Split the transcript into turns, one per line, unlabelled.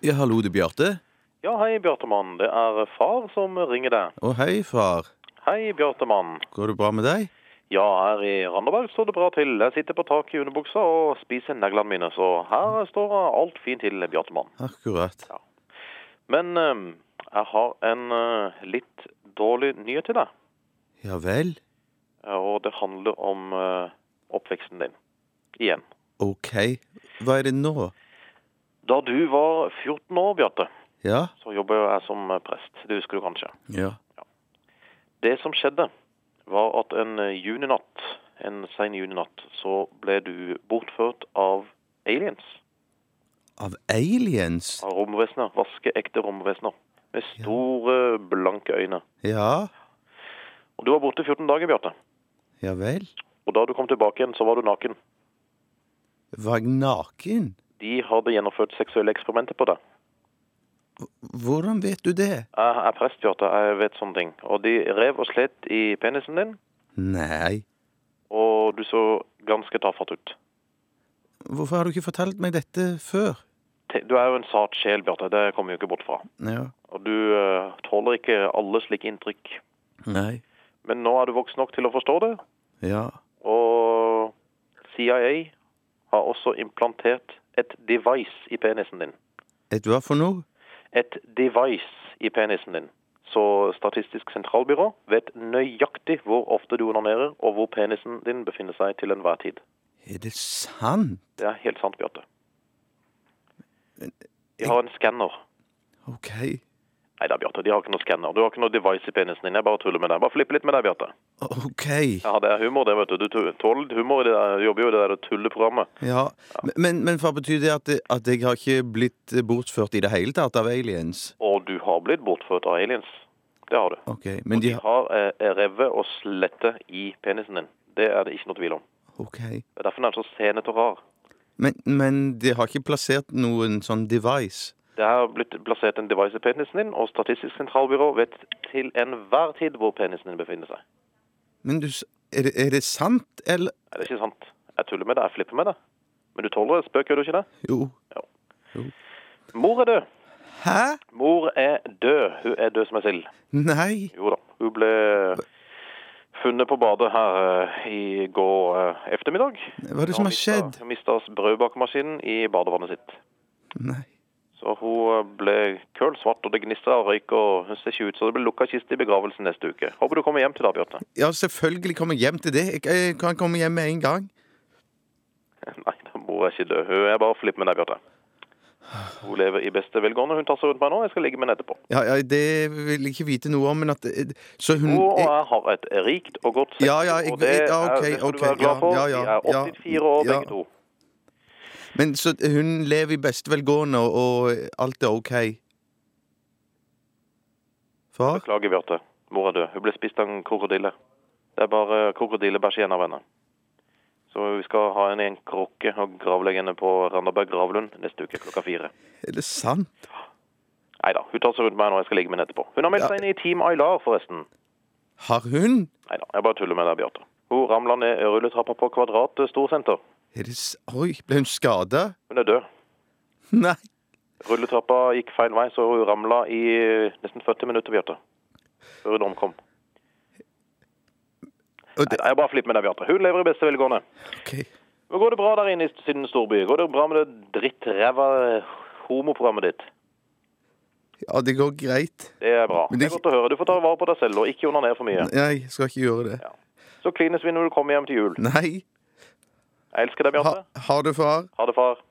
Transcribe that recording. Ja, hallo, det er Bjarte.
Ja, hei, Bjartemann. Det er far som ringer deg.
Å, hei, far.
Hei, Bjartemann.
Går det bra med deg?
Ja, her i Randaberg står det bra til. Jeg sitter på taket i underbuksa og spiser neglene mine, så her står det alt fint til, Bjartemann.
Akkurat.
Men eh, jeg har en eh, litt dårlig nyhet til deg,
Ja vel.
og det handler om eh, oppveksten din. Igjen.
OK. Hva er det nå?
Da du var 14 år, Bjarte,
Ja?
så jobba jeg som prest. Det husker du kanskje?
Ja.
Det som skjedde, var at en juninatt, en sen juninatt, så ble du bortført av aliens.
Av aliens?
Av romvesener. Vaskeekte romvesener. Med store, blanke øyne.
Ja.
Og du var borte 14 dager, Bjarte.
Ja vel.
Og da du kom tilbake igjen, så var du naken.
Var jeg naken?
De hadde gjennomført seksuelle eksperimenter på deg.
Hvordan vet du det?
Jeg er prest, Bjarte. Jeg vet sånne ting. Og de rev og slet i penisen din,
Nei.
og du så ganske tafatt ut.
Hvorfor har du ikke fortalt meg dette før?
Te- Du er jo en sart sjel, Bjarte. Det kommer vi jo ikke bort fra.
Ja.
Og du eh, tåler ikke alle slike inntrykk.
Nei.
Men nå er du voksen nok til å forstå det,
Ja.
og CIA har også implantert et device i penisen din.
Et hva for noe?
Et device i penisen din. Så Statistisk sentralbyrå vet nøyaktig hvor ofte du onanerer, og hvor penisen din befinner seg til enhver tid.
Er det sant?
Det er helt sant, Bjarte. De har en skanner.
OK.
Nei da, Bjarte, de har ikke noe skanner. Du har ikke noe device i penisen din. Jeg bare tuller med deg. Bare flippe litt med deg, Bjarte.
OK.
Ja, det er humor, det, vet du. Du tu- tåler litt humor i det der. Du jobber jo i det der tulleprogrammet.
Ja. Men, men far, betyr det at, at jeg har ikke blitt bortført i det hele tatt av aliens?
Og du har blitt bortført av aliens. Det har du.
OK. Men de
De har eh, revet og slettet i penisen din. Det er det ikke noe tvil om.
OK.
Det er derfor den er så senete og rar.
Men, men de har ikke plassert noen sånn device?
Det har blitt plassert en device i penisen din, og Statistisk sentralbyrå vet til enhver tid hvor penisen din befinner seg.
Men du, s- er, det, er det sant, eller
Er det ikke sant? Jeg tuller med deg, jeg flipper med deg. Men du tåler et spøk, gjør du ikke det?
Jo.
Mor er død.
Hæ?
Mor er død. Hun er død som ei sild.
Nei.
Jo da. Hun ble funnet på badet her eh, i går eh, ettermiddag.
Hva er det som har skjedd?
Hun mista brødbakemaskinen i badevannet sitt.
Nei.
Så hun eh, ble køl svart, og det gnistrer av røyk, og hun ser ikke ut, så det blir lukka kiste i begravelsen neste uke. Håper du kommer hjem til da, Bjarte.
Ja, selvfølgelig kommer jeg hjem til det. Jeg, jeg kan komme hjem med en gang.
Nei, da mor er ikke død. Hun er bare flipp med deg, Bjarte. Hun lever i beste velgående. Hun tar seg rundt meg nå. Jeg skal ligge med henne etterpå.
Ja, ja, Det vil jeg ikke vite noe om, men at eh, Så hun eh,
Og
Mm, jeg,
jeg har et rikt og godt sex,
Ja, ja, jeg-
og det,
ja,
er-
ok,
det skal
ok,
du være glad
ja,
for.
ja, ja,
Vi er 84 år,
ja, ja.
begge to.
Men så eh, hun lever i beste velgående, og eh, alt er OK? Far?
Beklager, Bjarte. Mor er død. Hun ble spist av en krokodille. Det er bare krokodillebæsj igjen av henne. Så vi skal ha henne i en krukke og gravlegge henne på Randaberg gravlund neste uke klokka fire.
Er det sant?
Nei da, hun tar seg rundt meg nå. Jeg skal ligge med henne etterpå. Hun har meldt seg inn i Team Aylar, forresten.
Har hun?
Nei da, jeg bare tuller med deg, Bjarte. Hun ramla ned rulletrappa på Kvadrat eh, storsenter.
Er det s Oi, ble hun skada?
Hun er død.
Nei.
Rulletrappa gikk feil vei, så hun ramla i eh, nesten 40 minutter, Bjarte. Før hun omkom.
Og
Nei
det,
da, jeg bare flipper med deg, Bjarte. Hun lever i beste velgående.
ok.
Men går det bra der inne i Syden storby? Går det bra med det drittræva homoprogrammet ditt?
Ja, det går greit.
Det er bra.
Men
Det
det-
er godt å høre. Du får ta vare på deg selv og ikke onanere for mye.
Nei, jeg skal ikke gjøre det.
Så klines vi når du kommer hjem til jul.
Nei.
Jeg elsker deg,
Ha,
Bjarte.
ha det, far.
Ha det, far.